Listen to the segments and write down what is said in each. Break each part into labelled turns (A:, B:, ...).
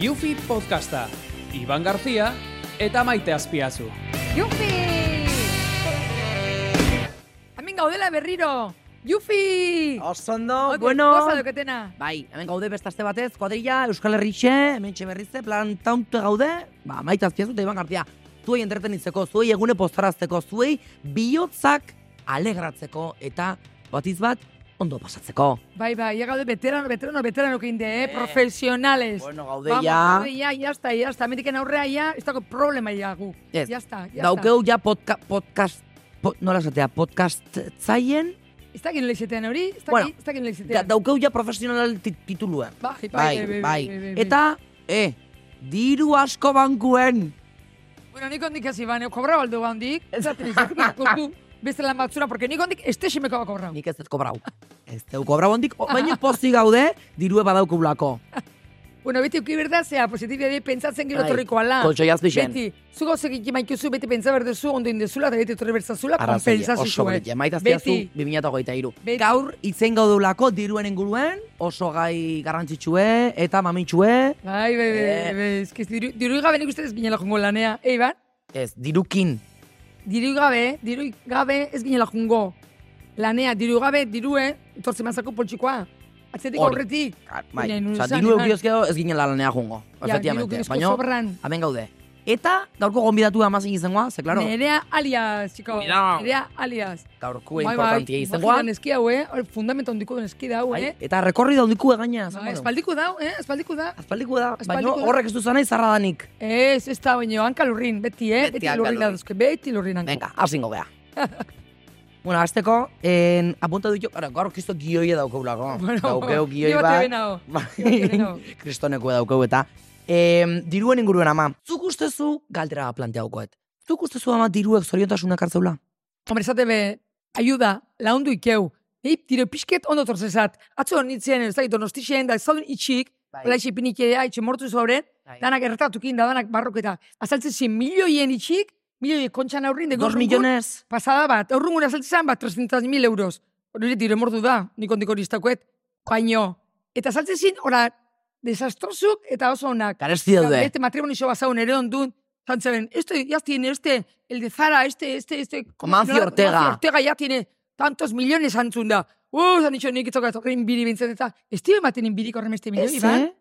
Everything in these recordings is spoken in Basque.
A: Yufi Podcasta, Iban Garzia eta Maite Azpiazu.
B: Yufi! Hemen gaudela berriro! Yufi!
C: Osondo,
B: Ote,
C: bueno.
B: Goza doketena.
C: Bai, hemen gaude bestaste batez, kuadrilla, Euskal Herrixe, hemen berrize, plan taunte gaude, ba, maita azpiazu eta Iban Garzia. Zuei entretenitzeko, zuei egune postarazteko, zuei bihotzak alegratzeko eta batiz bat ondo pasatzeko.
B: Bai, bai, ia gaude veterano, veterano, veterano kinde, eh? Profesionales.
C: Bueno,
B: gaude Vamos, gaude ya, ya está, ya está. Metiken aurrea ya, ez dago problema ya gu.
C: Ez.
B: Ya está, ya
C: Daukeu ja podka, podcast, po, nola esatea, podcast tzaien,
B: está. Ez dakin leizetean hori? Ez dakin,
C: Bueno,
B: ez dakin
C: da,
B: leizetean.
C: daukeu ja profesional tit- titulua.
B: Bai,
C: Bai, bai. Eta, eh, diru asko bankuen.
B: Bueno, nik ondik hasi ban, kobra baldu ba ondik. Ez Beste lan batzura, porque nik ondik estesimeko bako kobrau.
C: Nik ez dut kobrau. Ez dut kobrau hondik, o- baina pozi gaude, dirue badaukugulako.
B: Bueno, beti uki berda, zea, positibia di, pentsatzen gero
C: Bai,
B: torriko ala.
C: koltxoi azpixen.
B: Beti, zu gauzek ikimaikizu, beti pentsa berdezu, ondo indezula, eta beti torri bertzazula,
C: Arrazoia,
B: kompensazu
C: oso berria. Maita
B: Beti,
C: azpiazu, 2008
B: Beti.
C: Gaur, itzen gaudulako diruen inguruen, oso gai garrantzitsue eta mamitsue.
B: Bai, bai, bai,
C: Eh.
B: bai, ez que diru, diru gabe nik uste ez ginela jungo lanea. Ei, ba?
C: Ez, dirukin.
B: Diru gabe, diru gabe ez ginela jungo lanea. Diru gabe, dirue, tortzen mazako poltsikoa. Atzetik
C: Hori.
B: aurretik.
C: Ah, Bai,
B: Baina, nun
C: Osa,
B: zan,
C: diru
B: eman.
C: eukiozkeo ez ginen lanea jungo.
B: Ja, diru
C: Efectivamente.
B: gizko
C: Baina,
B: sobran.
C: hemen gaude. Eta, gaurko gonbidatu amazin izangoa, ze, klaro,
B: Nerea alias, chico.
C: Cuidao.
B: Nerea alias. Bai,
C: gaurko importantia izangoa.
B: Bajidan eski hau, eh? Hor, Fundamenta ondiko den eski da, hau,
C: Bai,
B: eh?
C: Eta rekorri daundiku egaina.
B: Bai, Espaldiko dau, eh? Espaldiko da.
C: Azpaldiko da, baina
B: Aspaldiko da.
C: horrek ez du zanai zarra danik.
B: Ez, ez da, baina hanka lurrin, beti, eh?
C: Beti
B: Beti,
C: hanka
B: lurrin
C: lurrin.
B: aduzke, beti lurrin hanka.
C: Venga, hasingo gea. bueno, azteko, en, apunta dut jo, ara, gaur kisto gioia daukagulako. Daukeu gioi
B: ni bate
C: bat.
B: benago. Ni bate
C: Bai,
B: benago.
C: Kristoneko daukau eta. Em, diruen inguruen ama. Zuk ustezu, galdera bat planteaukoet. Zuk ustezu ama diruek zorientasunak hartzeula?
B: Hombre, esate be, ayuda, laundu ikeu. Ni tiro pixket ondo tortzezat. Atzo nintzen, ez dakit, nostixen, da, zaudun itxik,
C: Bai.
B: bai. laixi pinikea, itxe mortu zaure,
C: Bai.
B: danak erretatukin, da, danak barroketa. Azaltzen zin, milioien itxik, milioien kontxan aurrin, de
C: Dos
B: gorrungun,
C: millones.
B: Pasada bat, aurrungun azaltzen zen, bat, 300.000 euros. Hori tiro mortu da, nik ondik hori iztakoet. Baino, eta azaltzen zin, ora, desastrozuk eta oso onak.
C: Garesti daude.
B: Este matrimonio iso basau nere ondun, zan zeben, este ya tiene, este, el de Zara, este, este, este...
C: Con Mancio
B: Nola-
C: Ortega.
B: Mancio Ortega ya tiene tantos millones antzun da. Uh, zan itxo nik itzok azokin biri bintzen eta. Ez tio ematen inbiriko horremeste milioi,
C: Ez,
B: Iban?
C: eh?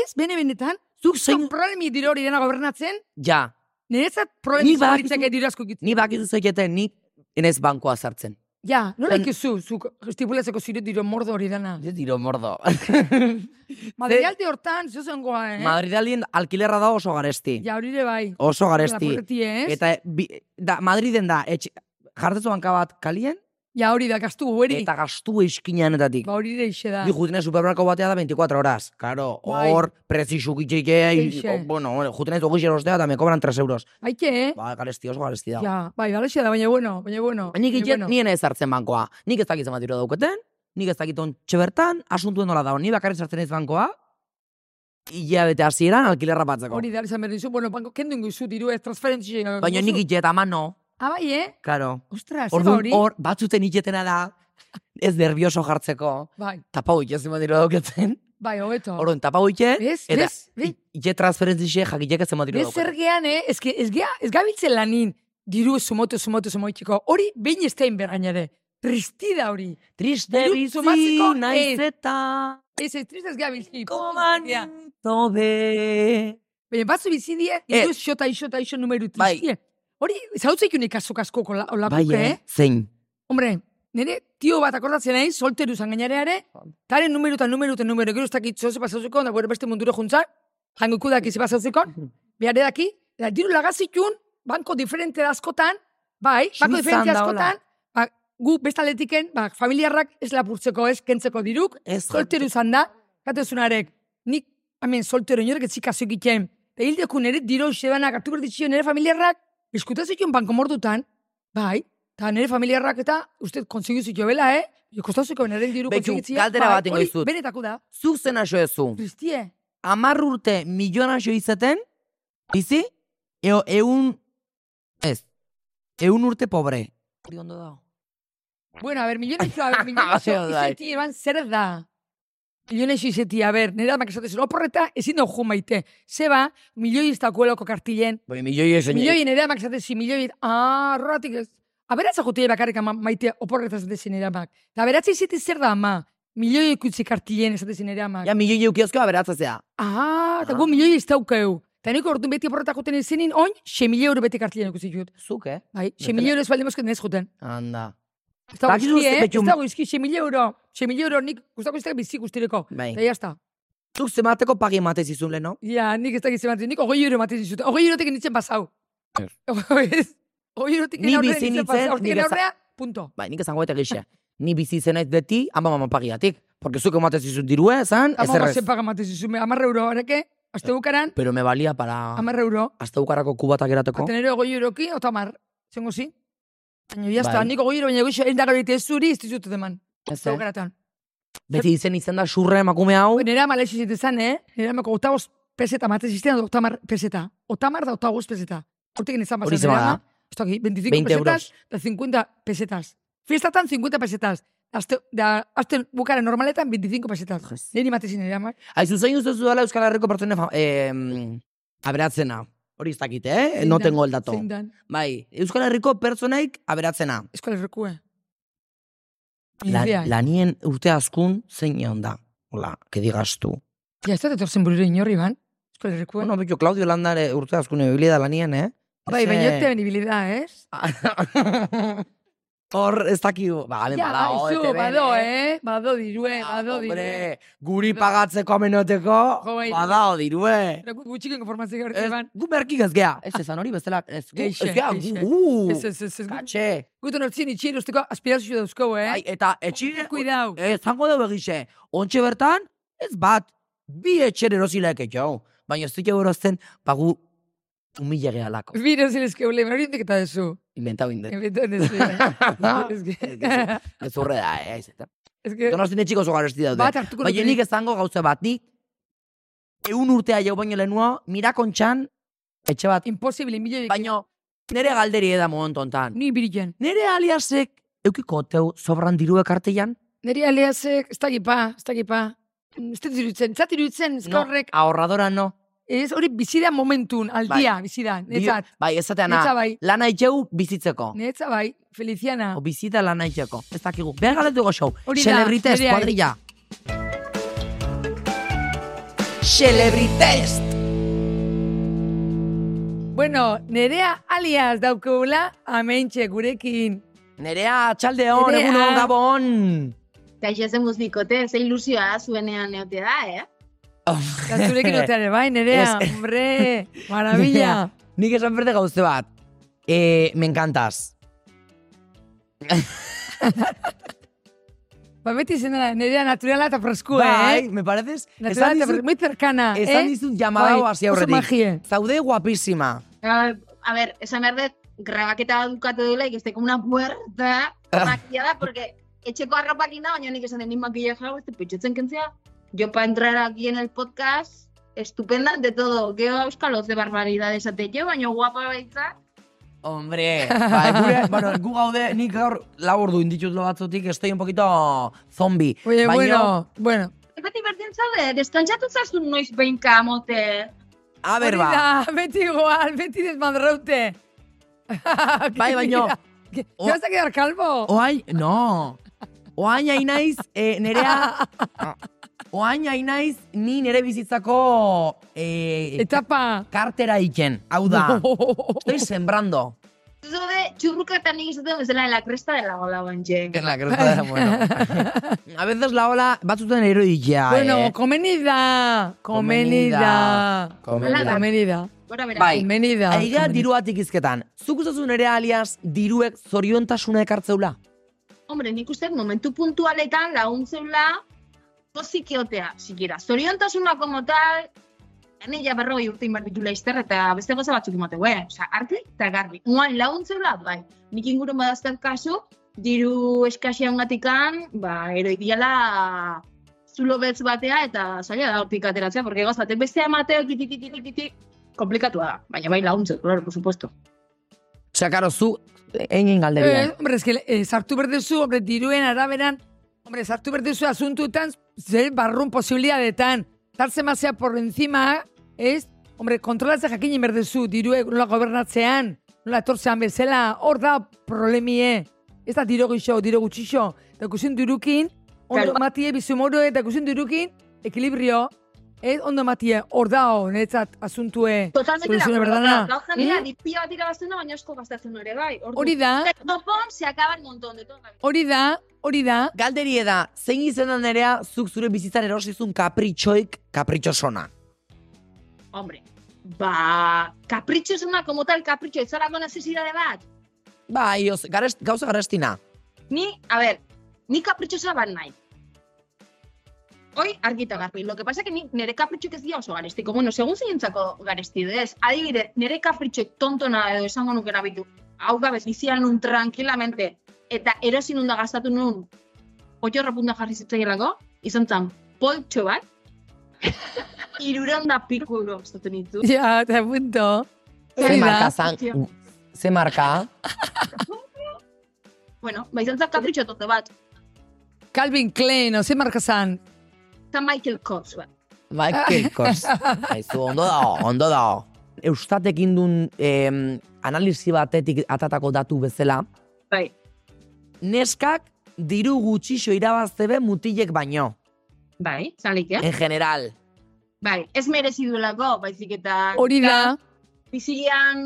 B: Ez, bene benetan.
C: Zuk
B: Zein
C: zein,
B: problemi dira hori dena gobernatzen,
C: ja,
B: niretzat
C: Ni
B: problemi izan
C: badakizu-
B: ditzake dira asko egitzen.
C: ni bakizu zeketen, ni enez bankoa sartzen.
B: Ja, nola
C: Zan-
B: ikizu, zuk estipulatzeko zire diro mordo hori dena.
C: Ez diro mordo.
B: Madrialde hortan, zezengoa, eh?
C: Madridalien alkilerra da oso garesti.
B: Ja, hori ere bai.
C: Oso garesti.
B: Lapurreti, ez?
C: Eta bi, da, Madriden da, etxe, jartezu banka bat kalien,
B: Ja, hori da, gaztu hori.
C: eta gastu eskineanetatik.
B: Ba, hori ere ixe da.
C: Ni jutene superbrako batea da 24 horas. Claro,
B: Bai.
C: hor, prezixu gitxeike,
B: Eixe.
C: o- bueno, bueno, jutene ez gixer ostea, eta me cobran 3 euros.
B: Aike, eh?
C: Ba, garesti, oso garesti da.
B: Ja, bai, galaxia da, baina bueno, baina bueno.
C: Nik
B: baina
C: egiten,
B: Eh, bueno.
C: nien ez hartzen bankoa. Nik ez dakit zenbat diru dauketen, nik ez dakit ontxe bertan, asuntuen nola dago, ni bakarrik sartzen ez bankoa, hilabete hasieran alkilerra batzeko.
B: Hori da, izan behar dizu, bueno, banko, kendu ingo izu, diru ez transferentzia.
C: Baina nik ite eta mano,
B: Ah, bai, eh?
C: claro.
B: Ostras, zeba
C: Orduan
B: ba hori.
C: hor, batzuten itetena da, ez nervioso jartzeko.
B: Bai,
C: Tapau ite zenbat diru daukaten.
B: bai, hobeto.
C: Orduan, tapau ite,
B: Bez,
C: eta
B: bez, bez.
C: ite transferentzixe jakitek ez zenbat diru
B: Bez zer
C: daukaten.
B: gean, eh? Ez, que, ez, gea, ez gabiltzen lanin, diru sumotu, sumotu, sumoitiko. Hori, behin ez da inberainare. Tristida hori.
C: Triste
B: Diru
C: bizi,
B: sumatzeko,
C: naiz
B: ez.
C: eta
B: Ez, ez, tristez gabiltzen.
C: komanin
B: Baina,
C: tobe.
B: batzu bizi die,
C: Ez.
B: diru xota, xota, xo numero
C: Bai.
B: tristie. Hori, zautzek unik asko asko
C: Bai,
B: olakuke,
C: eh?
B: eh?
C: zein.
B: Hombre, nire tio bat akordatzen nahi, solteru zan gainereare, taren numero eta numero eta numero, gero ez dakit zoze pasauzuko, da bere beste munduro juntza, jango ikudak izi pasauzuko, behar edaki, eta diru lagazitun, banko diferente da askotan, bai, banko
C: Suizan
B: diferente
C: da
B: askotan, ba, gu bestaletiken, ba, familiarrak ez lapurtzeko ez, kentzeko diruk,
C: Ez
B: solteru zan da, katezunarek, nik, hemen soltero inorek etzikazu egiten, eta hildeko nire diro xedanak hartu berditxio nire familiarrak, eskutazioen banko mordutan, bai, eta nire familiarrak eta uste konsigu zitio bela, eh? Kostazuko nire diru
C: Beitu,
B: konsigitzia.
C: galdera bat ingo
B: Bai, hori
C: dizut.
B: Benetako da,
C: Zuk zen aso ezu.
B: tristie.
C: Amar urte milionaxo izeten, bizi, eo, eun, ez, eun E urte pobre. Hori ondo dago.
B: Bueno, a ber, milionetxo, a ber, milionetxo,
C: Bai.
B: izeti eban zer da. Milioi nahi izetia, ber, nire amak esaten zuen, oporreta ezin dugu maite. Zeba, milioi ez dakuelako kartilen.
C: Bai, milioi ez
B: Milioi nire amak esaten zuen, milioi, ah, horretik ez. Aberatza jutie bakarrik ama maite oporreta esaten zuen nire amak. Da aberatza izeti zer da ama, milioi ikutzi kartilen esaten zuen nire amak.
C: Ja, milioi eukiozko aberatzazea.
B: Ah, eta
C: Ah.
B: gu milioi ez daukeu. Eta niko orduan beti oporreta juten izenin, oin, xe milioi euro beti kartilen ikusi jut.
C: Zuk, eh?
B: Bai, xe
C: Betela.
B: milioi euro ez baldin bozket nez juten.
C: Anda.
B: Ez dago
C: Bakizu
B: izki,
C: ze
B: eh? Ez
C: betxun-
B: dago izki, xe milioi euro. Xe milioi euro nik gustako izteak bizi guztireko.
C: Bai.
B: Eta jazta.
C: Zuk zemateko pagi ematez izun lehen, no?
B: Ja, nik ez dakit zematen, nik ogoi euro ematen dizut. Ogoi eurotik nintzen pasau.
C: Ez.
B: Ez. Ogoi eurotik
C: Ni
B: aurrea
C: bizi
B: nintzen
C: nintzen,
B: pasau. Hortik
C: nire za-
B: aurrea, punto.
C: Bai, nik esango eta gixe. Ni bizi izan naiz beti, ama mama pagiatik. Porque zuk ematez izun dirue, esan, ez
B: Ama
C: errez.
B: bazen paga ematen zizume, amarre euro, areke, azte bukaran,
C: Pero me balia para...
B: amarre euro.
C: Hasta ukarako kubatak erateko.
B: Atenero ogoi euroki, ota amar. Zengo zi? Baina jazta,
C: Bai.
B: nik ogoi euro, baina goixo, endagaro egite ez zuri, ez dizut eman.
C: Ez,
B: Azte
C: eh?
B: bukaratan.
C: Beti izen izan da surra emakume hau.
B: Bai, Nera ama lexi zitezan, eh? Nera amako otagoz peseta, maten zizten, otamar peseta. Otamar da otagoz peseta. Hortik nintzen
C: Hori
B: pasan,
C: zema
B: nera
C: da.
B: ama. Esto aquí, 25
C: 20
B: pesetas
C: euros.
B: da 50 pesetas. Fiestatan 50 pesetas. Azte, da, azte bukaren normaletan 25 pesetas.
C: Jes.
B: Niri matezin nire ama.
C: Aizu zein uste dela Euskal Herriko pertsone fa- eh, mm, aberatzena. Hori ez dakite, eh? No tengo el dato.
B: Zein dan,
C: Bai, Euskal Herriko pertsonaik aberatzena.
B: eskola errekue.
C: Lan,
B: Idea.
C: lanien urte askun zein egon da. Hola, que digas tú.
B: Ja, ez dut etorzen burure inorri ban. Eskola errekue.
C: Bueno, betxo, Claudio Landare urte askun ebili da lanien, eh?
B: bai,
C: Ze-
B: baina jote benibilida, ez?
C: Hor, ez dakigu. Ba, hemen
B: Ja,
C: badago,
B: baizu,
C: ETBn,
B: bai, bado, eh? Bado dirue,
C: Ah,
B: bado dirue.
C: hombre, guri pagatzeko amenoteko,
B: Jo, bai.
C: badao dirue.
B: Gutxik informazio hori
C: Ez,
B: ban.
C: gu berkik ez gea. Ez ezan hori bestela. Ez, gu,
B: Geixe,
C: ez gea, gu,
B: geixe.
C: gu.
B: Ez, ez, ez, ez. gu-
C: Katxe.
B: Guten hortzien itxien usteko aspirazio dauzkogu, eh?
C: Ai, eta etxire,
B: Kuidau.
C: ez zango dugu egixe. Ontxe bertan, ez bat, bi etxer erosileak etxau. Baina ez dut erozten, bagu humile gehalako.
B: Bira zilezke ule, hori indik eta dezu.
C: Inventau indet.
B: Inventan dezu. Ez
C: Eh. Ez
B: que...
C: que- Ez urre da, eh, ez. eta.
B: Ez que...
C: Donostin etxiko oso garesti daude.
B: Bat hartuko
C: Baina
B: nuke
C: nik ezango gauza bat, nik eun urtea jau baino lehenua, mirakontxan, etxe bat.
B: Imposible, milioi...
C: Baina nere galderi eda momentu hontan.
B: Ni biriken.
C: Nere aliasek eukiko teu sobran diruek artean?
B: Neri aleazek, ez dakipa, ez dakipa. Mm, Ez dut iruditzen, ez dut iruditzen, ez horrek.
C: ahorradora no.
B: Ez hori bizida momentun, aldia, bizida.
C: Bai. Di-
B: Netzat,
C: Bai, ez
B: netza
C: zateana.
B: bai,
C: Lana itxeu bizitzeko.
B: netza bai, Feliciana.
C: O bizita lana itxeko. Ez dakigu. Behar galetu goxau.
B: Hori da,
C: Celebrites,
B: nerea-
C: kuadrilla. Celebrites!
B: Bueno, nerea aliaz daukagula, amentxe gurekin.
C: Nerea, txalde hon,
B: Nerea.
C: egun hon gabon.
D: Kaixo zen muzmikote, ze ilusioa zuenean neote da, eh?
B: Eta zurekin oteare, bai, nerea,
C: Ez.
B: hombre, maravilla.
C: Nik esan berde gauze bat. Eh, me encantas.
B: Ba, beti izan da, nerea naturala eta freskua,
C: Bai,
B: eh?
C: me pareces...
B: Naturala
C: Esan
B: eta
C: dizut,
B: freskua, muy cercana, eh?
C: esan dizut jamadao
B: Bai,
C: hasi
B: Oso
C: aurretik.
B: magie.
C: Zaude guapísima.
D: Ah, a ver, esan behar dut, grabaketa bat dukatu dela, ikeste como una puerta maquillada, porque etxeko arropakin da, baina nik esan den, nik maquillaje hau, este pitxotzen kentzea, yo pa entrar aquí en el podcast, estupenda de todo, geo euskaloz de barbaridades atete, baina guapa baitza,
C: Hombre, ba, gure, bueno, gu gaude, nik gaur labor du inditutlo batzutik, estoy un poquito zombi.
B: Oye,
C: Baina-
B: bueno, bueno.
D: beti berdin zaude, deskantzatu zazun noiz behinka mote.
C: A ber,
B: Hori
C: ba,
B: da, beti igual, beti desmadraute.
C: bai, baino,
B: ¿Te
C: O-
B: vas a quedar calvo?
C: oain, no, oain hain naiz, eh, nerea, oain hain naiz, ni nere bizitzako eh,
B: Etapa.
C: kartera iken, hau da, estoy sembrando.
D: Zude, txurruketan nik izaten bezala, en la cresta de la gola bantxe.
C: En la cresta de la- bueno. Bai. A veces la ola, batzuten eroikia,
B: Bueno,
C: eh.
B: comenida. Comenida.
D: Comenida.
B: Comenida.
D: Gora bera.
C: Bai.
B: Comenida.
C: Aiga diruatik izketan, zuk uzazu nere alias diruek zoriontasuna ekartzeula.
D: Hombre, nik uste dut momentu puntualetan laguntzeula pozik eotea, sikira. Zoriontasuna como tal, ene ja berroi urte inbar bitula izter eta beste goza batzuk imate, we, oza, argi eta garbi. Uan laguntzeula, bai, nik ingurun badazkat kasu, diru eskasia ungatikan, ba, eroik diala zulo betz batea eta zaila da hortik ateratzea, porque goz batek bestea ematea, tititititititik, komplikatua da, baina bai laguntzeu, claro, por supuesto.
C: Osea, karo, zu egin galderia.
B: Eh, hombre, es que eh, sartu berdezu, hombre, diruen araberan, hombre, sartu berdezu asuntuetan, zer barrun posibilidadetan. Tartzen mazea por encima, ez? Hombre, kontrolatzea jakin inberdezu, dirue nola gobernatzean, nola etortzean bezala, hor da problemie. Ez da diro gixo, diro gutxixo. Eta ikusin dirukin, ondo
D: Claro.
B: matie bizumoro eta ikusin dirukin, ekilibrio, ez ondo matie, hor dao, niretzat asuntue.
D: Totalmente de
B: Soluzione
D: acuerdo.
B: berdana.
D: Gauza dira,
B: Eh?
D: di pila bat irabazten da, baina asko gastatzen ere, bai. Ordu.
B: Hori da,
D: Topon, se acaba el montón de todo.
B: hori da, hori da.
C: Galderi da, zein izena nerea zuk zure bizitzan erosizun kapritxoik kapritxosona.
D: Hombre, ba, kapritxo esuna, como tal, kapritxo, ez zarako necesidade bat.
C: Ba, ioz, garest, gauza garestina.
D: Ni, a ver, ni kapritxosa bat nahi. Hoi, argita garbi. Lo que pasa que ni nere kapritxoek ez dira oso garestiko. Bueno, segun zeinentzako garestide ez. Adibide, nere kapritxoek tontona edo esango nuke nabitu. Hau gabez, bizian nun tranquilamente. Eta erosin hunda gastatu nun, oiorra punta jarri zitzaielako, izan zen, poltxo bat, iruronda piku euro gastatu nitu.
B: Ja, eta punto.
C: Ze
B: Hori
C: marka
B: da.
C: zan, ze marka.
D: Bueno, ba, izan zen kapritxo tonto bat.
B: Calvin Klein, oze marka zan.
D: Zan Michael Kors bat.
C: Michael Kors. Aizu, ondo dao, ondo dao. Eustatek indun em, analisi batetik atatako datu bezala,
D: Bai.
C: neskak diru gutxixo irabaztebe mutilek baino,
D: Bai, zalik, eh?
C: en general.
D: Bai, ez merezi duelako, baizik eta...
B: Hori da,
D: Bizian,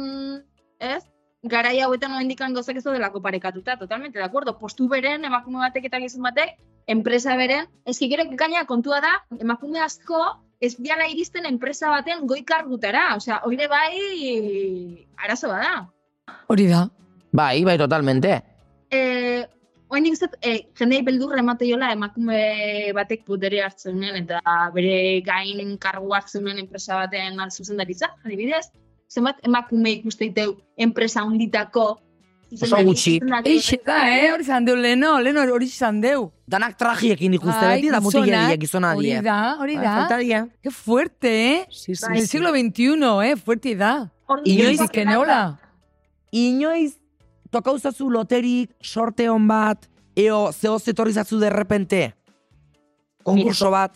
D: ez? Garai hauetan oendikan gozak ez delako parekatuta, totalmente, de acuerdo? Postu beren, emakume batek eta gizon batek, enpresa beren, ez que gero gaina kontua da, emakume asko, ez diala iristen enpresa baten goi kargutara, osea, oire bai arazo bada.
B: hori da.
C: Bai, bai, totalmente.
D: eh, oendik zet, eh, jendei beldur emate jola emakume batek putere hartzen duen eta bere gain kargu hartzen duen enpresa baten zuzendaritza, adibidez, zenbat emakume ikusteiteu enpresa hunditako zuzendari-
C: gutxi.
D: zuzendari-
B: Eixe da, eh? Hori zan deu leno, leno hori zan deu.
C: Danak trajiekin ikuste
B: Ai,
C: beti, da mutilek
B: gizonak,
C: die, gizona die.
B: Hori da, hori
C: Bai,
B: da.
C: Faltaria.
B: Qué fuerte, eh?
C: Sí, sí,
D: Bai.
B: El
C: sí.
B: siglo XXI, eh? Fuerte da.
D: Ordu-
C: Inoiz
B: Inoiz que neola.
C: Inoiz, tokauzazu loterik, sorte hon bat, eo, zeo zetorri zazu derrepente. Konkurso bat.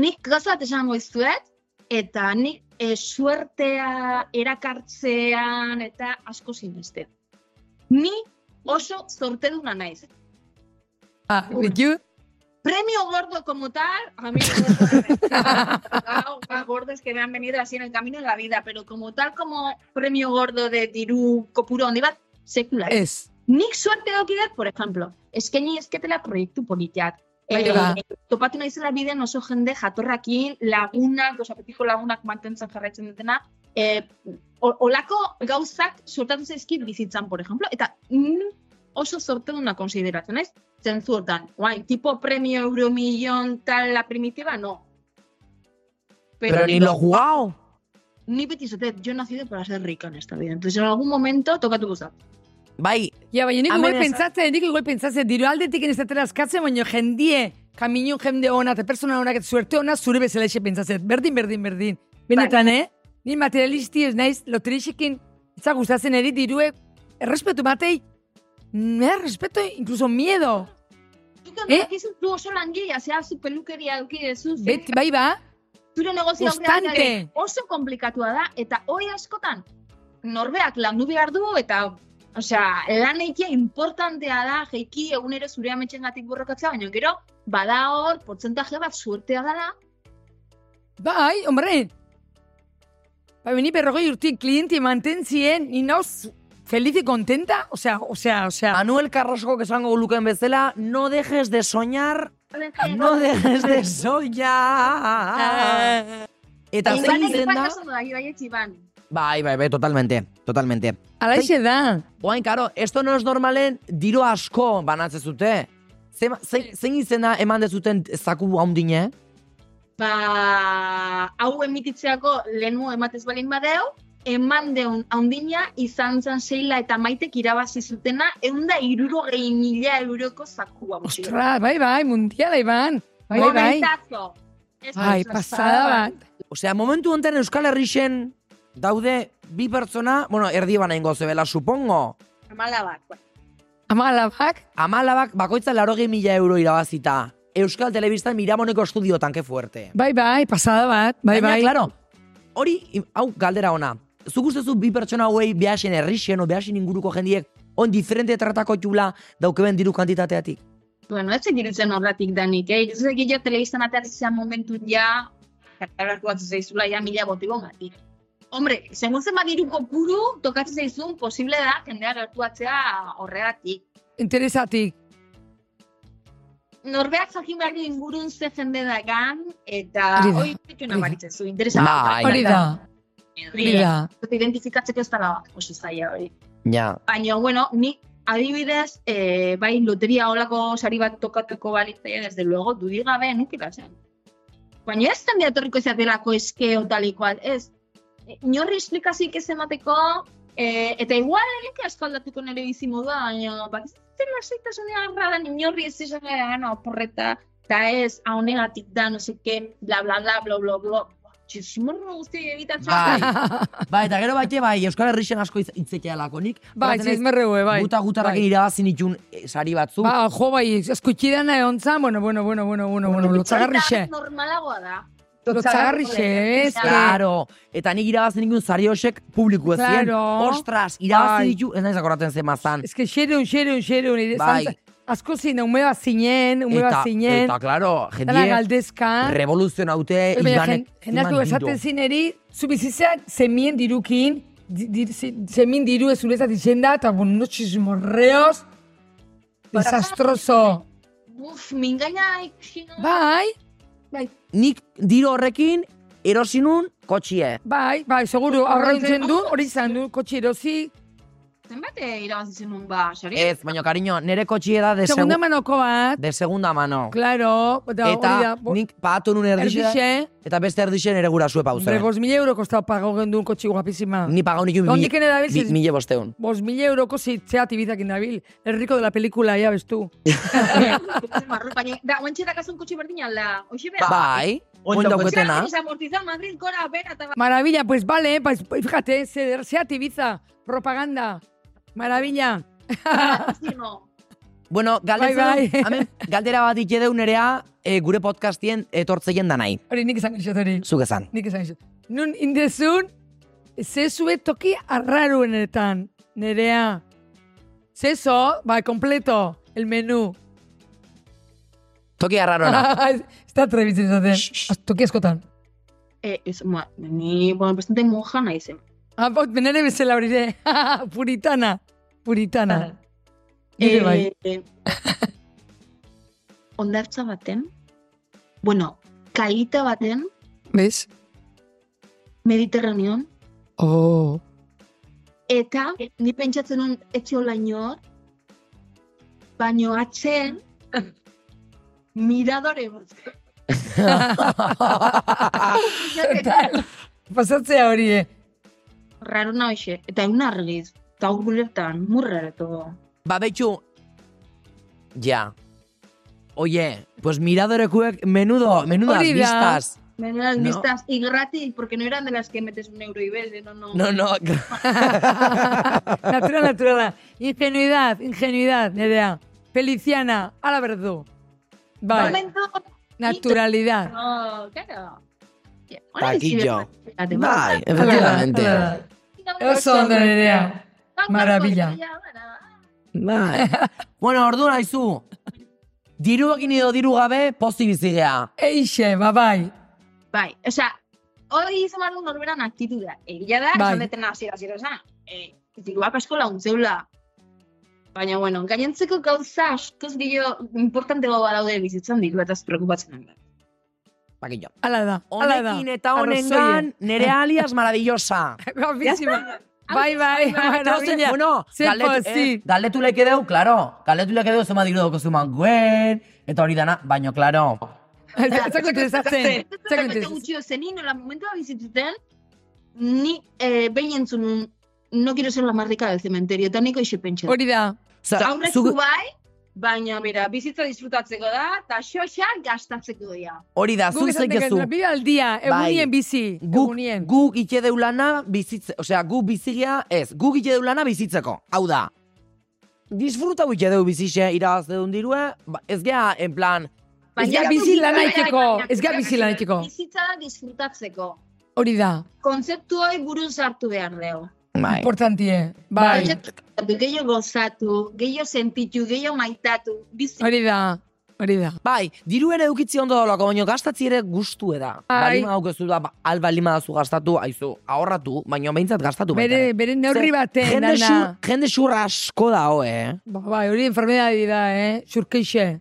D: Nik gauza bat esango izuet, eta nik eh, suertea erakartzean eta asko sinesten. Ni oso zorteduna naiz.
B: Ah, you?
D: Premio gordo como tal, a mí me gusta. Claro, más gordos que me han venido así en el camino de la vida, pero como tal como premio gordo de Tirú Kopuro handi bat, sekula. ez.
B: Ez.
D: Nik suerte daukidat, por ejemplo, eskaini esketela proiektu politiak.
B: Bai,
D: Eh,
B: ba.
D: topatu naizela bidean oso jende jatorrakin, lagunak, osapetiko lagunak mantentzen jarraitzen dutena, eh, o- olako gauzak suertatu zaizkit bizitzan, por ejemplo, eta mm, oso zorteduna konsideratzen, ez? Zentzu hortan, guain, tipo premio euromillon tal la primitiva, no.
C: Pero ni lo jugao.
D: Ni beti esatet, yo he nacido para ser rica en esta vida. Entonces, en algún momento, tokatu guztat.
C: Bai,
B: Ja, baina nik igual
C: Amenaza.
B: pentsatzen, nik igual pentsatzen, diru aldetik enezatela askatzen, baina jendie, kaminion jende ona, eta persona ona, eta suerte ona, zure bezala eixe pentsatzen. Berdin, berdin, berdin. Benetan, eh? Ni materialisti ez naiz, loterixekin, ez gustatzen eri diruek, errespetu batei, me da Mm, eh, respeto, incluso miedo.
D: Zuk ondo
B: Eh?
D: dakizu, zu oso langilea, zea zu pelukeria eduki dezu, zure-
B: Bet, bai ba,
D: zure negozio
B: Konstante.
D: aurrean ere eh, oso komplikatua da, eta hoi askotan, norbeak landu behar du, eta Osea, lan eikia importantea da, jeiki egunero zure ametxen gatik burrokatzea, baina gero, bada hor, portzentaje bat suertea dela,
B: bai, hombre. Ba, beni berrogei urtien klienti mantentzien, ni nauz feliz y contenta, o sea, o sea, o sea,
C: Manuel Carrasco esango luken bezala, no dejes de soñar, no
D: de...
C: dejes de soñar. Eta zein izen da?
D: bai,
C: Bai, bai, bai, totalmente, totalmente.
B: alaixe da.
C: Oain, karo, esto no es normalen diro asko banatze zute. Zema- Zein, zein izena eman dezuten zaku haundine?
D: Ba, hau emititzeako lehenu ematez balin badeu, eman deun haundina izan zen seila eta maitek irabazi zutena, eunda iruro gehi mila euroko zakua. mutila.
B: Ostras, bai, bai, mundiala, Iban. Bai, bai.
D: Momentazo. Ez
B: Bai,
D: pasada
B: pasada bat.
C: Osea, momentu honetan Euskal Herrixen daude bi pertsona, bueno, erdi bana ingo zebela, supongo.
D: Amala bat. bai. bueno.
B: Ama alabak,
C: Amalabak bakoitza laro mila euro irabazita. Euskal Telebistan Miramoneko estudiotan, que fuerte.
B: Bai, bai, pasada bat. Bai,
C: Baina,
B: bai.
C: claro, hori, im- hau, galdera ona. Zuk uste zu bi pertsona hauei behasen errixen, o behasen inguruko jendiek, on diferente tratako txula daukeben diru kantitateatik.
D: Bueno, ez zekiritzen horretik danik, eh? Ez zekit jo telebizan aterrizan momentu ja, kartarako bat zaizula ja mila botigo matik. Hombre, segun zen badiru kopuru, tokatzen zaizun, posible da, jendea gertuatzea horregatik.
B: Interesatik.
D: Norbeak jakin behar du ingurun ze jende dagan, eta
B: Hori da,
D: hori ditu
B: hori da.
D: nabaritzen zu, interesante.
C: Bai.
B: Hori da, hori da.
D: Identifikatzeko ez dara, oso zaila hori.
C: Ja.
D: Baina, bueno, ni adibidez, eh, bai, loteria holako sari bat tokatuko balitzaia, desde luego, dudik gabe nukila zen. Baina ez jendea etorriko izaterako eske o tal y cual, ez. E, Inorri esplikazik ez emateko, eh, eta igual nik asko aldatuko nire bizimodua, baina, bak, ez zen lasaitasunea agarra da, inorri ez izan gara, "Ah, no, porreta, eta ez, ahonegatik da, no seke, bla, bla, bla, bla, bla, bla, Txismorro guzti egitatzen.
C: Bai, bai, eta gero baite, bai, Euskal Herrixen asko iz- itzekealako. Nik,
B: Bai,
C: baten ez,
B: zizmerreue, bai.
C: guta gutarrakin
B: Bai.
C: irabazi nitun eh, sari batzu.
B: Ba, jo, bai, eskutxidana egon zan, bueno, bueno, bueno, bueno, bueno, bueno, lotzagarrixe.
D: Normalagoa da.
B: Lotzagarrixe, ez?
D: Ja.
C: Claro, eta nik irabazi nitun sari hosek publiku ezien.
B: Claro.
C: Ostras, irabazi
B: Bai.
C: ditu, ez naiz akoratzen zen mazan.
B: Ez que xereun, xereun, xereun, ire
C: Bai.
B: zan, asko zine, ume bat zinen, ume bat
C: Eta,
B: zinen,
C: eta, claro,
B: dala
C: jendie,
B: galdezka.
C: revoluzionaute,
B: Baina,
C: ibanek,
B: jen- jendeatu esaten zineri, zu bizitzean zemien dirukin, di, di, ze- zemien diru ez urezat izenda, eta bueno, unos chismorreos, desastroso.
D: Uf, mingaina ikusi nuen.
B: Bai,
C: nik diro horrekin erosi nun kotxie.
B: bai, bai, seguru, aurrentzen du, hori izan du, kotxe erosi,
D: Zenbat eh, irabazi zenun ba, sari?
C: Ez, baina kariño, nire kotxie da de,
B: segunda
C: segu-
B: manoko bat,
C: de segunda mano.
B: claro, eta hori da,
C: Eta
B: bo-
C: nik pagatu nun erdixe,
B: erdixe,
C: eta beste erdixe nire gurasue pauzen.
B: hombre, bost mila euro kostau pagau genduen kotxe guapizima.
C: Ni pagau nitun
B: Dondik ene dabil,
C: mi-
B: ziz-
C: mila bosteun.
B: Bost mila euroko zitzeat ibizakin dabil, erriko de la pelikula, ya bestu.
D: eh, Marru, baina, da, oantxe dakazun kutsi berdin alda. Hoxe bera.
C: Bai, oin dauketena.
D: Desamortizan Madrid, gora, bera, eta... ba,
B: Maravilla, pues vale, eh, pues fíjate, se, se ativiza, propaganda, maravilla.
D: ba, ez dino.
C: Bueno,
B: Bai,
C: galdetzen,
B: bai.
C: hemen galdera bat ikede nerea eh, gure podcastien etortzeien danai.
B: Hori nik esan gizot hori,
C: Zuk esan.
B: nik esan gizot. Nun indezun, zezue toki arraruenetan, nerea. Zezo, ba, completo, el menú.
C: Toki arrarona.
B: Ez da trebitzen izaten, Az- toki askotan.
D: Eh, ez, ma, ni, bueno, bastante monja nahi zen.
B: Ah, bot, benere bezala hori de, puritana, puritana. Nire bai.
D: Eh, ondartza baten, bueno, kaita baten,
B: Bez?
D: mediterraneon,
B: Oh.
D: Eta, ni pentsatzen nun etxola inor, baino atzen, miradore bat.
B: Pasatzea hori, eh.
D: Raro na hoxe, eta egun argiz, eta urgulertan, murra eto.
C: Ba, betxu. Ja. Oie, pues miradorekuek menudo, menudas
B: Hori da.
C: vistas.
D: Baina las
C: No.
D: vistas, y gratis, porque no eran de las que metes un euro y ves, de no, no.
C: No, no,
B: Natural, naturala. Ingenuidad, ingenuidad, nerea. Feliciana, a la verdú. Bai,
D: Momento,
B: naturalidad.
D: no, claro.
C: Taquillo.
D: Bai.
C: Bai, efectivamente.
B: Hala, hala. Oso ondo nerea. maravilla.
C: Bai. bueno, ordu naizu. Diruakin edo diru gabe pozi bizigea.
B: Eixe, babai.
D: Bai, osea, hori izan behar du norberan aktituda. Egia Eh, da,
B: Bai.
D: esan detena hasiera hasiera esan. E, diruak asko laguntzeula. Baina, bueno, gainentzeko gauza askoz gehiago importantego badaude bizitzan diru eta ez preocupatzen handa.
C: Bakillo.
B: Hala da, hala da.
C: Honekin eta honengan, nere alias maravillosa.
B: Guapísima. Bai, bai,
C: Ah, Entonces,
B: maravilla.
C: bueno,
B: Ze
C: galdetu,
B: pozi.
C: eh, galdetu leke deu, claro. Galdetu leke deu, zema diru dauko zuman guen, eta hori dana, baino, claro.
B: Zako interesatzen. Zako
D: Eta
B: interesatzen.
D: gutxi zenin, nola momentua bizitzuten, ni eh, behin entzun nun, no quiero ser la más rica del cementerio, eta niko iso pentsa.
B: Hori da.
C: Za-
D: Aurrezu
B: ba-
C: zu-
D: bai, baina, bera, bizitza disfrutatzeko da, eta xoxan gastatzeko dira.
C: Hori da,
B: Guk
C: zuk
B: esaten
C: zekezu.
B: genuen, bide aldia,
C: Bai.
B: egunien bizi.
C: Guk,
B: Egunien.
C: guk ite deulana bizitze, osea, guk bizigia, ez, guk ite deulana bizitzeko. Hau da, disfruta ite deu bizixe irabaz dedun dirue, ba, ez gea, en plan,
B: Ez ga
D: Baina-
B: bizi lana iteko,
D: Baina-
B: ez ga bizi lana iteko.
D: Bizitza da disfrutatzeko.
B: Hori da,
D: Kontzeptu hori buruz hartu behar dugu.
C: Bai.
B: importantie. Bai,
D: Kontzeptu Gehiago gozatu, gehiago sentitu, gehiago maitatu. Bizi
B: hori da, hori da.
C: Bai, diru ere eukitzi ondo dolako, baina gastatzi ere gustu da.
B: Bai.
C: Balima haukezu da, ba, albalima dazu gastatu, aizu, ahorratu, baina behintzat gastatu. baita
B: Bere,
C: ere.
B: bere neurri
C: Ze,
B: baten,
C: jende, xur,
B: dana.
C: jende xur asko da, ho, eh?
B: Ba, bai, hori enfermedadi da, eh? Surkeixe.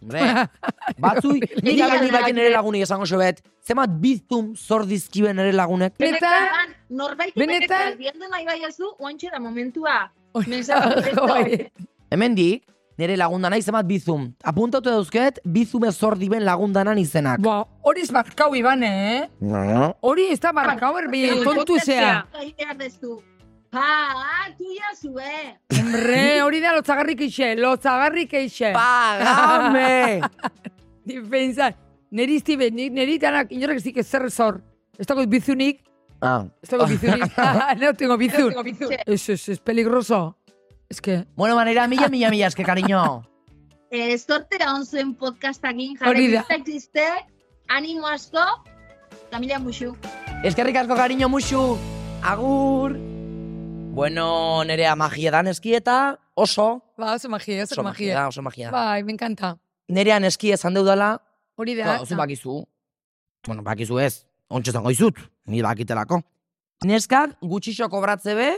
C: Hombre, batzu, nik
D: Egia
C: gabe nik
D: da,
C: bakin
D: eh.
C: ere lagunik esango xobet, zemat biztum zor dizkiben ere lagunek.
B: Benetan,
D: norbait
B: benetan-
D: benetan, biendu nahi bai ez du, oantxe da momentua.
B: Hori-
D: Mensaje directo.
B: Bai.
C: Hemendik, nire lagundana izemat bizum. Apuntatu dauzket, bizume zor diben lagundanan izenak.
B: Ba, hori ez markau ibane, eh? Hori ez da markau erbi, kontu zea.
D: Egin behar dezu. Ba, tu ya zue.
B: Hombre, hori da lotzagarrik ixe, lotzagarrik ixe.
C: Pagame!
B: Difensa, neri iztibe, ni- neri tanak inorek ezik ezer zor. Ez dago bizunik,
C: ah.
B: ez dago bizunik. Ah, no tengo bizun.
D: Ze,
B: Ez, ez, ez, peligroso. Ez que,
C: Bueno, manera, mila, mila, mila, eske, cariño.
D: eh, Zortea on zuen podcastakin
B: Hori da.
D: jarri existe, animo asko, Kamila Muxu.
C: Eskerrik asko, cariño, musu. Agur. Bueno, nerea magia da neski eta oso.
B: ba, oso magia, oso
C: Oso magia
B: magia.
C: da, oso magia da.
B: Bai, me encanta.
C: Nerea neski esan deudala,
B: Hori da.
C: Ba, zu bakizu. Bueno, bakizu ez. Ontxe zango izut. Ni bakitelako. Neskak gutxixo kobratze be,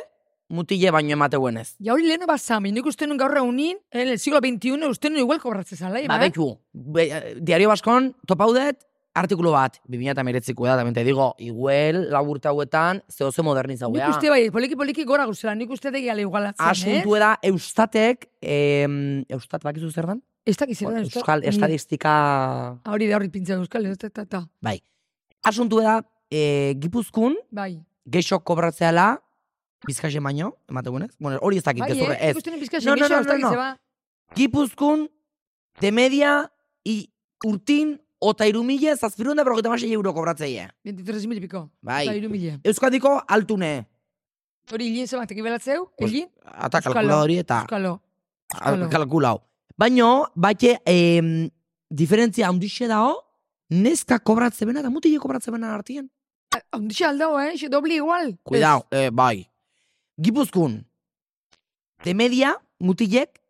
C: mutile baino emateuen ez.
B: Ja hori lehenu bazami, nik uste nun gaur egunin, en el siglo XXI, uste nun igual eh, kobratzen zala,
C: Ba, beku. Be, eh, diario Baskon, topaudet, artikulu bat. 2008ko da, tamen te digo, iguel, laburte hauetan, zehoze
B: Nik
C: modernizagoea.
B: uste bai, poliki-poliki gora guzela, nik uste degi ala igualatzen, eh?
C: Asuntu da eustatek, em, eustat bakizu zer dan?
B: eh? Ez dakiz,
C: Bueno,
B: bueno,
C: Euskal estadistika...
B: Hori da, hori pintza euskal, ez da, ta, ta.
C: bai. Asuntu da, e, gipuzkun,
B: Bai.
C: geixo kobratzeala, bizkaxe baino, emategunez. Bueno, hori ez dakit,
B: Bai,
C: gezurra,
B: eh?
C: ez.
B: Ikusten pizka
C: No, no,
B: segixo,
C: no,
B: ez dakiz,
C: no, no.
B: ba.
C: Gipuzkun, de media, i, urtin, ota irumile, zazpirun da berrogeita hamasei euro kobratzeie.
B: 23.000 y pico.
C: Bai.
B: Eta hiru mila.
C: Euskadiko altune.
B: Hori hilin zematek ibelatzeu,
C: Pues, ah.
B: hilin,
C: Ata
B: Euskalo.
C: kalkula hori eta
B: euskalo. euskalo.
C: al- kalkulau. Baino, bate, em, diferentzia handixe dao, neska kobratze bena da mutile kobratze bena artien.
B: Ondixe aldao, eh? Xe doble igual.
C: Cuidao, eh, bai. Gipuzkun, de media, mutilek,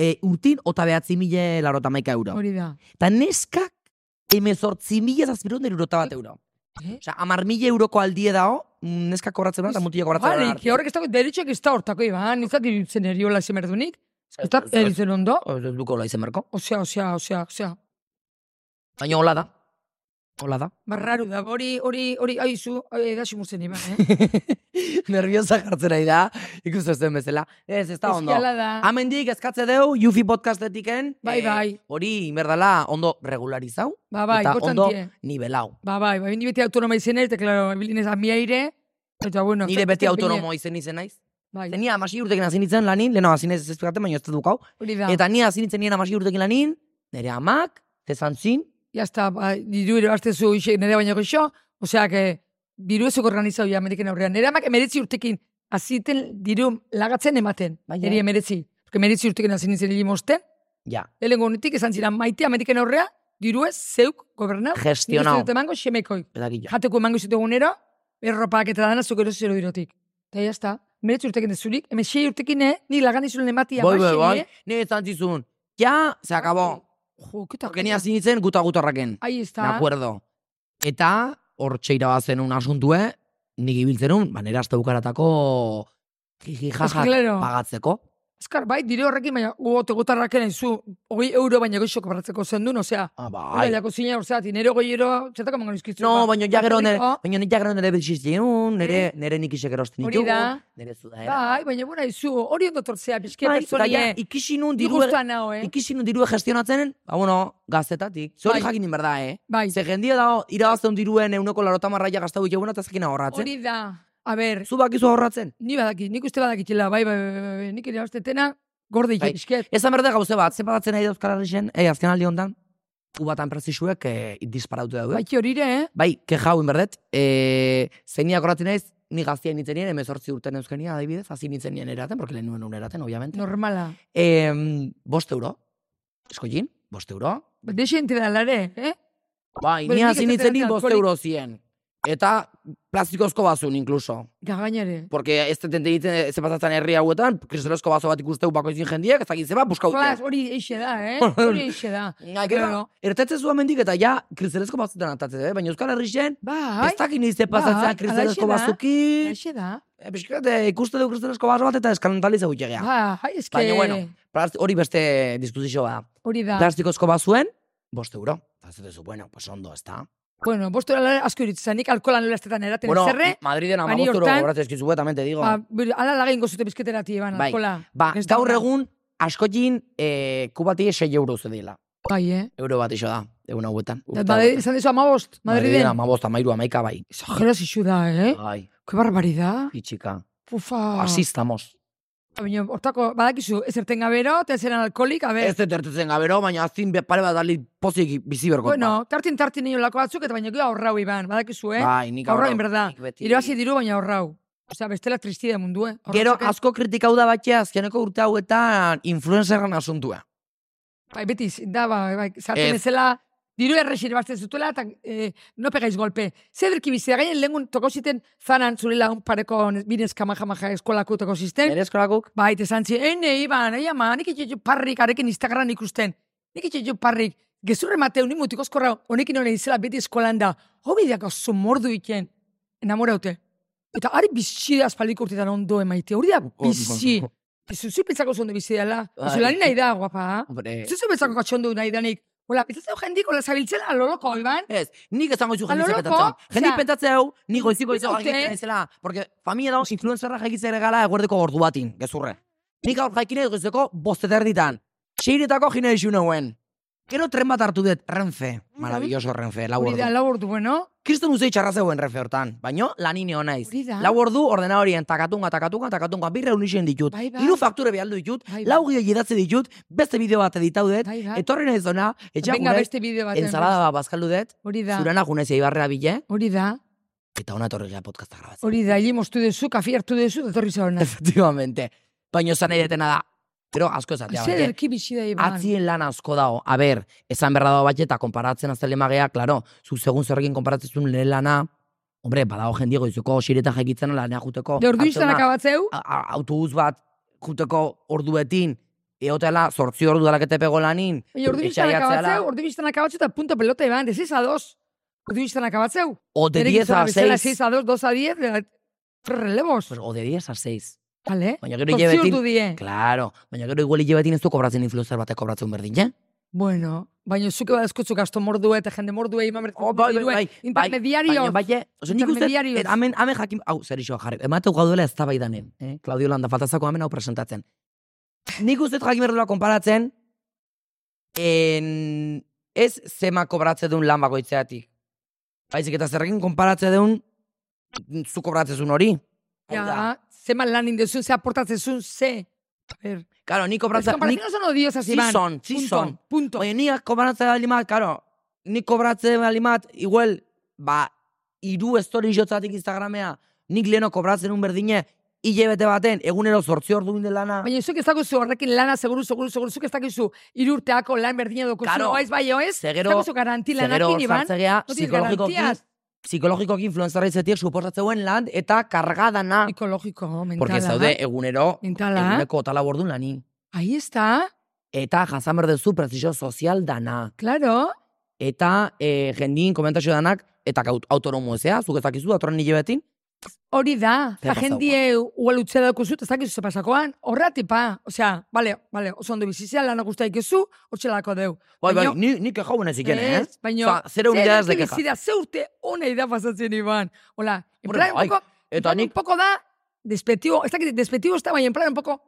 C: eh, urtin, ota behatzi mila larota maika
B: Ez,
C: euro.
B: Hori da.
C: Eta neskak emezortzi mila zazpiron derurota bat euro.
B: Eh?
C: Osa, amar mila euroko aldie dao, mm, neskak kobratzen bat, eta mutila kobratzen
B: Bale,
C: bat.
B: que horrek ez dago, derechoak ez da hortako, Iban, ez dakit zen eriola zemerdunik. Ez da,
C: Ez, ez.
B: eritzen ondo.
C: Oh, Ez duko hola izen berko.
B: Osea, osea, osea, osea.
C: Baina hola da. Hola da.
B: Barraru da, hori, hori, hori, aizu, da simurtzen iban, eh?
C: Nerviosa jartzen ari da, ikusten zen bezala. Ez, ez da ondo.
B: Eskiala da.
C: Hamendik eskatze deu, Yufi podcastetiken.
B: Bai,
C: eh,
B: bai.
C: Hori, berdala, ondo regularizau.
B: Ba, bai,
C: eta ondo
B: importantie.
C: nivelau.
B: Ba, bai, bai, ni beti autonoma izenez, eta, klaro, bilinez amieire. Eta, bueno,
C: Nire
B: zertan
C: beti
B: bile-
C: autonomo izen izen naiz.
B: Bai,
C: Zenia amasi urtekin hasi nintzen lanin, leheno hasi naiz ez ezpikaten, baina ez dut hau.
B: hori da.
C: Eta ni hasi nintzen nien amasi urtekin lanin, nire amak, tezan zin,
B: Ya está, ba, diru ero hartezu ixe, nire baino geixo, osea, que diru ezuk organizau ja mediken aurrean. Nire amak emeretzi urtekin, aziten diru lagatzen ematen,
C: Bai,
B: niri
C: eh?
B: emeretzi. Porque emeretzi urtekin hasi nintzen limosten,
C: ja,
B: lehenko honetik esan ziren maitea mediken aurrea, diru ez zeuk gobernau, nire
C: gestionau.
B: dut emango xemekoik.
C: Eta gila.
B: Jateko emango izute egunero, erropak eta dana zuk ero zero dirotik. Eta ya está, emeretzi urtekin dezurik, hemen sei urtekin, eh, ni lagan izulen ematia,
C: Boi, boi,
B: baxen,
C: boi,
B: eh?
C: nire ezan bai. zizun. Ja, se acabó.
B: Jo, kita.
C: Porque ni hasi nintzen guta gutorraken.
B: Ahí está.
C: Me acuerdo. Eta, hor txeira bazen un asuntue, nik ibiltzenun, ba, nire azte bukaratako jiji jajak
B: claro.
C: pagatzeko.
B: Azkar, bai, dire horrekin, baina gote gotarraken zu, hogei euro baina goixo kobratzeko zendun, osea,
C: Ah,
B: hori
C: bai.
B: lako zinen, osea, dinero goi ero, txetako mangan izkizu.
C: No, baina ja gero nere,
B: Bakarrik,
C: baina nik ja gero nere betxizien, nere, nere nik isek erosten
B: Hori
C: ditugu,
B: da.
C: nere zu da
B: oh,
C: era.
B: Bai, baina bura izu, hori ondo tortzea, pixke
C: Bai, eta ja,
B: personie,
C: ikisi nun
B: ni
C: diru,
B: guztua nao, eh?
C: ikisi nun diru gestionatzen, ba, bueno, gaztetatik. Zori
B: Bai.
C: jakin inberda, eh?
B: Bai,
C: Ze jendia dago, irabazten diruen euneko larota marraia gaztau ikeguna eta zekin ahorratzen.
B: hori da, a ber,
C: Zu bakizu ahorratzen.
B: ni badakit, nik uste badakitela, bai, bai, bai, bai, bai, nik ere abstetena, gorde
C: Bai.
B: ikisket.
C: Ezan berde gauze bat, ze pagatzen nahi da Euskal Herrixen, eh, azken aldi hontan, kubatan prezisuek eh, disparaute daude.
B: Bai,
C: Bai,
B: horire, eh?
C: bai keja hau inberdet, eh, zeinia korratzen naiz, ni gaztia nintzen nien, emezortzi urten euskenia, adibidez, hasi nintzen nien eraten, porque lehen nuen un eraten, obviamente.
B: Normala.
C: Em, bost euro, eskollin, Bost euro?
B: Bete xente da lare, eh?
C: Bai,
B: Bueno,
C: ni
B: nik
C: hasi
B: ez
C: nintzen ni
B: dut
C: bost
B: alkoholik-
C: euro zien. Eta plastikozko bazun, inkluso.
B: Gagainare.
C: Porque ez deten egiten zepazatzen herri hauetan, kristelozko bazo bat ikusteu bakoizin jendiek, ez dakit zeba, buskau.
B: Jolas, hori eixe da, eh? Hori eixe da. Claro.
C: Ertatzen zuen mendik eta ja, kristelezko bazutan atatzen, eh? baina Euskal Herri zen,
B: Bai,
C: ez dakit niz zepazatzen
B: bai, halaxe
C: kristelezko
B: da.
C: bazuki,
B: eixe da.
C: Eh, pixka bat, eh, ikuste du kristelezko bazo bat eta eskalantaliz egutia gea.
B: Bai, eske...
C: Baina, bueno, plast- hori beste diskusizio bada.
B: Hori da.
C: Plastikozko bazuen, bost euro. Eta ez duzu, bueno, pues ondo, ez da.
B: Bueno, bostura lare asko iritzen, nik alkoholan lolastetan eraten
C: Bueno, eh,
B: zerre,
C: Madriden ama
B: bani
C: bost euro
B: hortan-
C: goratzen eskizu, también te digo.
B: ba, bir- ala lagain gozute bizketerati eban
C: Bai.
B: alkohola.
C: Ba,
B: Ez da
C: gaur
B: horra.
C: egun askotin eh, kubati 6 euro zedila.
B: Bai, eh?
C: Euro bat iso da, egun hauetan.
B: Da, Ba, Madrid, izan dizu amabost, Madriden.
C: Ama bost, amairu, amaika bai.
B: Exageras isu da, eh? Ah.
C: Ai,
B: Que barbaridad.
C: itxika.
B: Ufa.
C: Así estamos.
B: Baina, hortako, badakizu, ez erten gabero, te zeran alkoholik, a
C: Ez
B: ber.
C: dut ertetzen gabero, baina azin be- pare bat dali pozik bizi bergot.
B: Bueno, tartin tartin nio lako batzuk, eta baina gero horrau iban, badakizu, eh?
C: bai, nik
B: Horra,
C: gaur-
B: en berda.
C: nik beti-
B: Irabazi diru, baina horrau. Osea, bestela tristida mundu, eh? Horra
C: Gero
B: txoke-
C: asko kritikau da batxe azkeneko urte hauetan influencerran asuntua.
B: Bai, beti, iz- da, bai, bai,
C: Ez.
B: zarten ezela, diru errexir batzen zutela, eta eh, no pegaiz golpe. Zederki bizia, gainen lengun tokoziten zanan zure lagun pareko ne- binez kamajamaja eskolako tokozisten.
C: Nere eskolakuk?
B: Bai, eta zantzi, ene, iban, ei ba, ama, nik itxetxu parrik, arekin Instagram ikusten. Nik itxetxu parrik, gezurre mateu, nik mutiko eskorra, honekin hori izela beti eskolan da. Hobi dako zumordu iken, enamoraute. Eta ari bizi da aspaldiko urtetan ondo emaite, hori da bizi. Zuzu pentsako zondo bizi dela.
C: Bai.
B: Zuzu lani nahi da, guapa. ha?
C: Hombre,
B: Zuzu bezako katxondu nahi danik. Ola, pentsatzen jendik, ola, zabiltzela aloloko, Iban.
C: Ez, nik esango zu
B: A lo
C: jendik
B: loco,
C: pentsatzen. Jendik
B: osea,
C: pentsatzen hau, ni goiziko izo
B: dute-
C: jakitzen ezela. Porque familia dago influenzerra jakitzen gala eguerdeko ordu batin, gezurre. Nik aur jakin ez goizeko bosteter ditan. Seiretako jine isu nauen. Gero tren bat hartu dut, Renfe. Maravilloso Renfe, lau
B: Hori da,
C: ordu.
B: lau ordu, bueno.
C: Kriston uzei txarra zegoen Renfe hortan, baino lanine hona naiz.
B: Hori da.
C: Lau ordu ordena horien takatunga, takatunga, takatunga, bi reunixen ditut.
B: Bai, bai.
C: Hiru fakture behaldu ditut,
B: Bai, bai.
C: lau gio jidatze ditut, beste bideo bat editaudet,
B: Bai, bai.
C: etorri nahi zona, etxan
B: Venga,
C: gure,
B: beste bideo bat.
C: ensalada bat bazkaldu dut,
B: Hori da,
C: zurana junezia ibarrea bile,
B: hori da,
C: Eta hona etorri gara podcasta grabatzen.
B: hori da, hili moztu dezu, kafi hartu dezu, etorri zaona.
C: Efectivamente. Baina esan nahi detena da. Pero asko esatea.
B: Zer
C: batek.
B: erki bizi da, Iban.
C: Atzien lan asko dago. A ber, esan berra dago bat eta konparatzen azte magea, klaro, zu segun zerrekin konparatzen zuen lehen lana, hombre, badago jendiego izuko xireta jakitzen lanea juteko.
B: De ordu izan
C: hartzen da,
B: akabatzeu,
C: a- a- autobus bat juteko orduetin, eotela sortzi ordu dalakete pego lanin.
B: baina ordu biztan
C: etsaiatzeala,
B: akabatzeu, ordu biztan akabatzeu eta punto pelota, Iban, de 6 a 2. Ordu biztan akabatzeu.
C: O de 10 a 6.
B: 6 a 2, 2 a 10, de- tres relevos.
C: Pues, O de 10 a 6.
B: Vale.
C: Baina gero
B: Zortzi
C: hilebetin,
B: ordu die.
C: Claro, baina gero igual hilebetin ez du kobratzen influencer batek kobratzen berdin, ja?
B: Bueno, baina zuke bat eskutzu gasto mordu eta jende mordu egin
C: Oh, bai, bai, bai, bai.
B: Intermediario.
C: Baina baie, oso nik uste,
B: Intermediarios.
C: et, amen, amen jakin, hau, zer iso, jarri, emateu gaudela ez tabaidanen, eh? Claudio Landa, faltazako amen hau presentatzen. Nik uste jakin behar duela konparatzen, en, ez zema kobratze duen lan bakoitzeatik. Baizik eta zerrekin konparatze duen, zu kobratze zuen hori. Hau da,
B: Ja, zeman lan indezun, ze aportatzezun, ze. A ver,
C: Karo, ni
B: las
C: kobratze, ni,
B: comparaciones son odiosas,
C: Sí
B: Iván.
C: son, sí
B: punto,
C: son.
B: Punto.
C: Baina ni kobratze balimat, karo, ni kobratze balimat, igual, ba, iru story jotzatik Instagramea, nik leheno kobratzen un berdine, hilebete baten, egunero sortzi ordu inde lana.
B: Baina zuk ez dagozu horrekin lana, seguru, seguru, seguru, zuk ez dakizu irurteako lan berdina dokozu,
C: Claro.
B: oaiz bai oez, ez
C: Zegero-
B: dagozu garanti
C: Zegero
B: lanakin, Iban.
C: sartzegea,
B: No tienes
C: psikologikoki,
B: garantías.
C: psikologikoki influenzarra izetik suposatzeuen lan, eta kargadana.
B: Psikologiko, mentala.
C: Porque eh, ez daude egunero,
B: Mentala.
C: eguneko tala bordun lani.
B: ¿ah? Ahí está,
C: Eta jasan berdezu prezisio sozial dana.
B: claro.
C: Eta eh, jendin komentazio danak, eta gaut- autonomo ezea, zuk ez dakizu, datorren hilebetin,
B: Hori da, eh,
C: Ze
B: eta
C: pasau,
B: jendie uelutze daukuzu, eta ez dakizu ze pasakoan, horratipa, osea, bale, bale, oso ondo bizizia, lan okusta ikizu, hortzelako deu.
C: Bai, bai,
B: Baino-
C: ni, nik jauen ez ikene, eh?
B: Ez, baino,
C: Osa, zero unidades de keja.
B: Zera, ze urte honei da pasatzen, Iban. Hola, en
C: Hombre,
B: plan,
C: bai.
B: un poco, en
C: Eta
B: plan
C: nik,
B: un poco da, despectivo, ez dakit, despectivo ez da, baina en plan, un poco,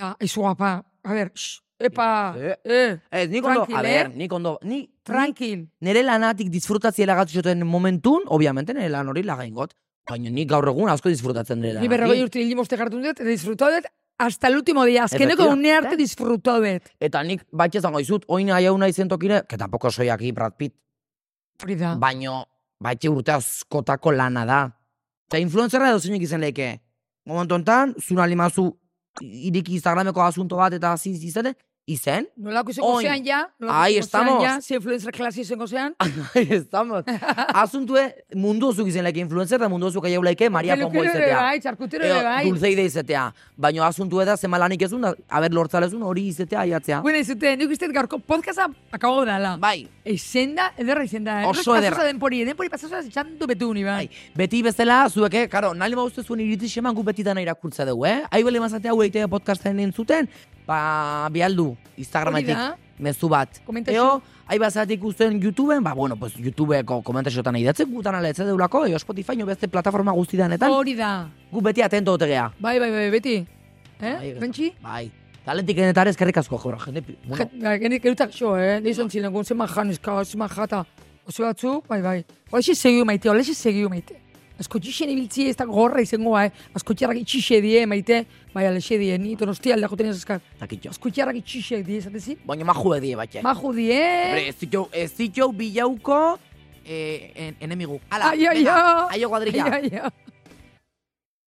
B: ah, izu guapa, a ver, shh, epa,
C: Eh,
B: eh,
C: ez, nik ondo,
B: tranquil,
C: a
B: eh?
C: ber, nik ondo, ni, nik
B: tranquil.
C: nire lanatik disfrutatzia lagatu zuten momentun, obviamente nire lan hori lagaingot, baina nik gaur egun asko disfrutatzen nire
B: Ni berrogei
C: lanatik.
B: urte hil mozte jartu dut, eta disfrutau dut, hasta el último día, azkeneko
C: Efectivamente.
B: une arte disfrutau dut.
C: Eta nik batxe zango izut, oin aiau nahi zentokire, que tampoco soy aquí Brad Pitt,
B: Hori da.
C: baino batxe urte askotako lana da. Eta influenzerra edo zeinek izan leike. Momentu enten, zuna limazu iriki Instagrameko asunto bat eta aziz izate, Izen?
B: Nolako izango
C: Oin.
B: zean, ja. Nolako
C: Ahí
B: izango zean,
C: estamos. Ah,
B: ja. Ze influencer klasi izango zean.
C: Ahí estamos. Asuntue mundu zuk izen laike influencer da mundu zuk aiau laike Maria Pombo
B: Pelukero ere
C: izatea.
B: bai, txarkutero
C: Edo
B: ere bai.
C: dulzeide izatea. Baina asuntu da zema lanik ezun, da, aber lortzalezun hori izatea aiatzea.
B: Bueno, izute, nik uste dut gaurko podcasta akabo dala.
C: Bai,
B: Eizenda, ederra izenda. eh?
C: Oso ederra.
B: Pasosa denpori, denpori pasosa etxandu betuni, bai.
C: Bai, beti bezala, zuek, eh, karo, nahi lema uste zuen iritsi seman gu beti dana irakurtza dugu, eh? Ahi bale mazatea hau eitea podcasten entzuten, ba, bialdu, Instagrametik,
B: Hori da.
C: mezu bat.
B: Komentaxo.
C: Eo, ahi bazatik usten YouTubeen, ba, bueno, pues, YouTubeko komentaxotan idatzen gutan ala etze deulako, eo Spotify, eo beste plataforma guztidanetan,
B: Hori da.
C: gu beti atento otegea.
B: Bai, bai, bai, beti. Eh?
C: Bai,
B: Bentsi?
C: Bai, talentik enetare eskerrik asko, jora, jende, pi- bueno,
B: ba, Genik erutak xo, eh? Leizan zilen, gontzen majan, eska, gontzen majata. Oso batzu, bai, bai. Olexe segiu maite, olexe segiu maite. Asko txixen ibiltzi ez da gorra izango, bai. Asko txarrak itxixe die, maite. Bai, alexe die, ni donosti aldako tenez eskar.
C: takitxo.
B: Asko txarrak itxixe die, zatezi?
C: Baina maju edie batxe.
B: Maju die.
C: Eh. Hombre, ez ditu, ez ditu bilauko, eh, en, enemigu. Ala,
B: Ai, ai,
C: venga,
B: ai.
C: aio kuadrilla.
B: Ai, ai, ai.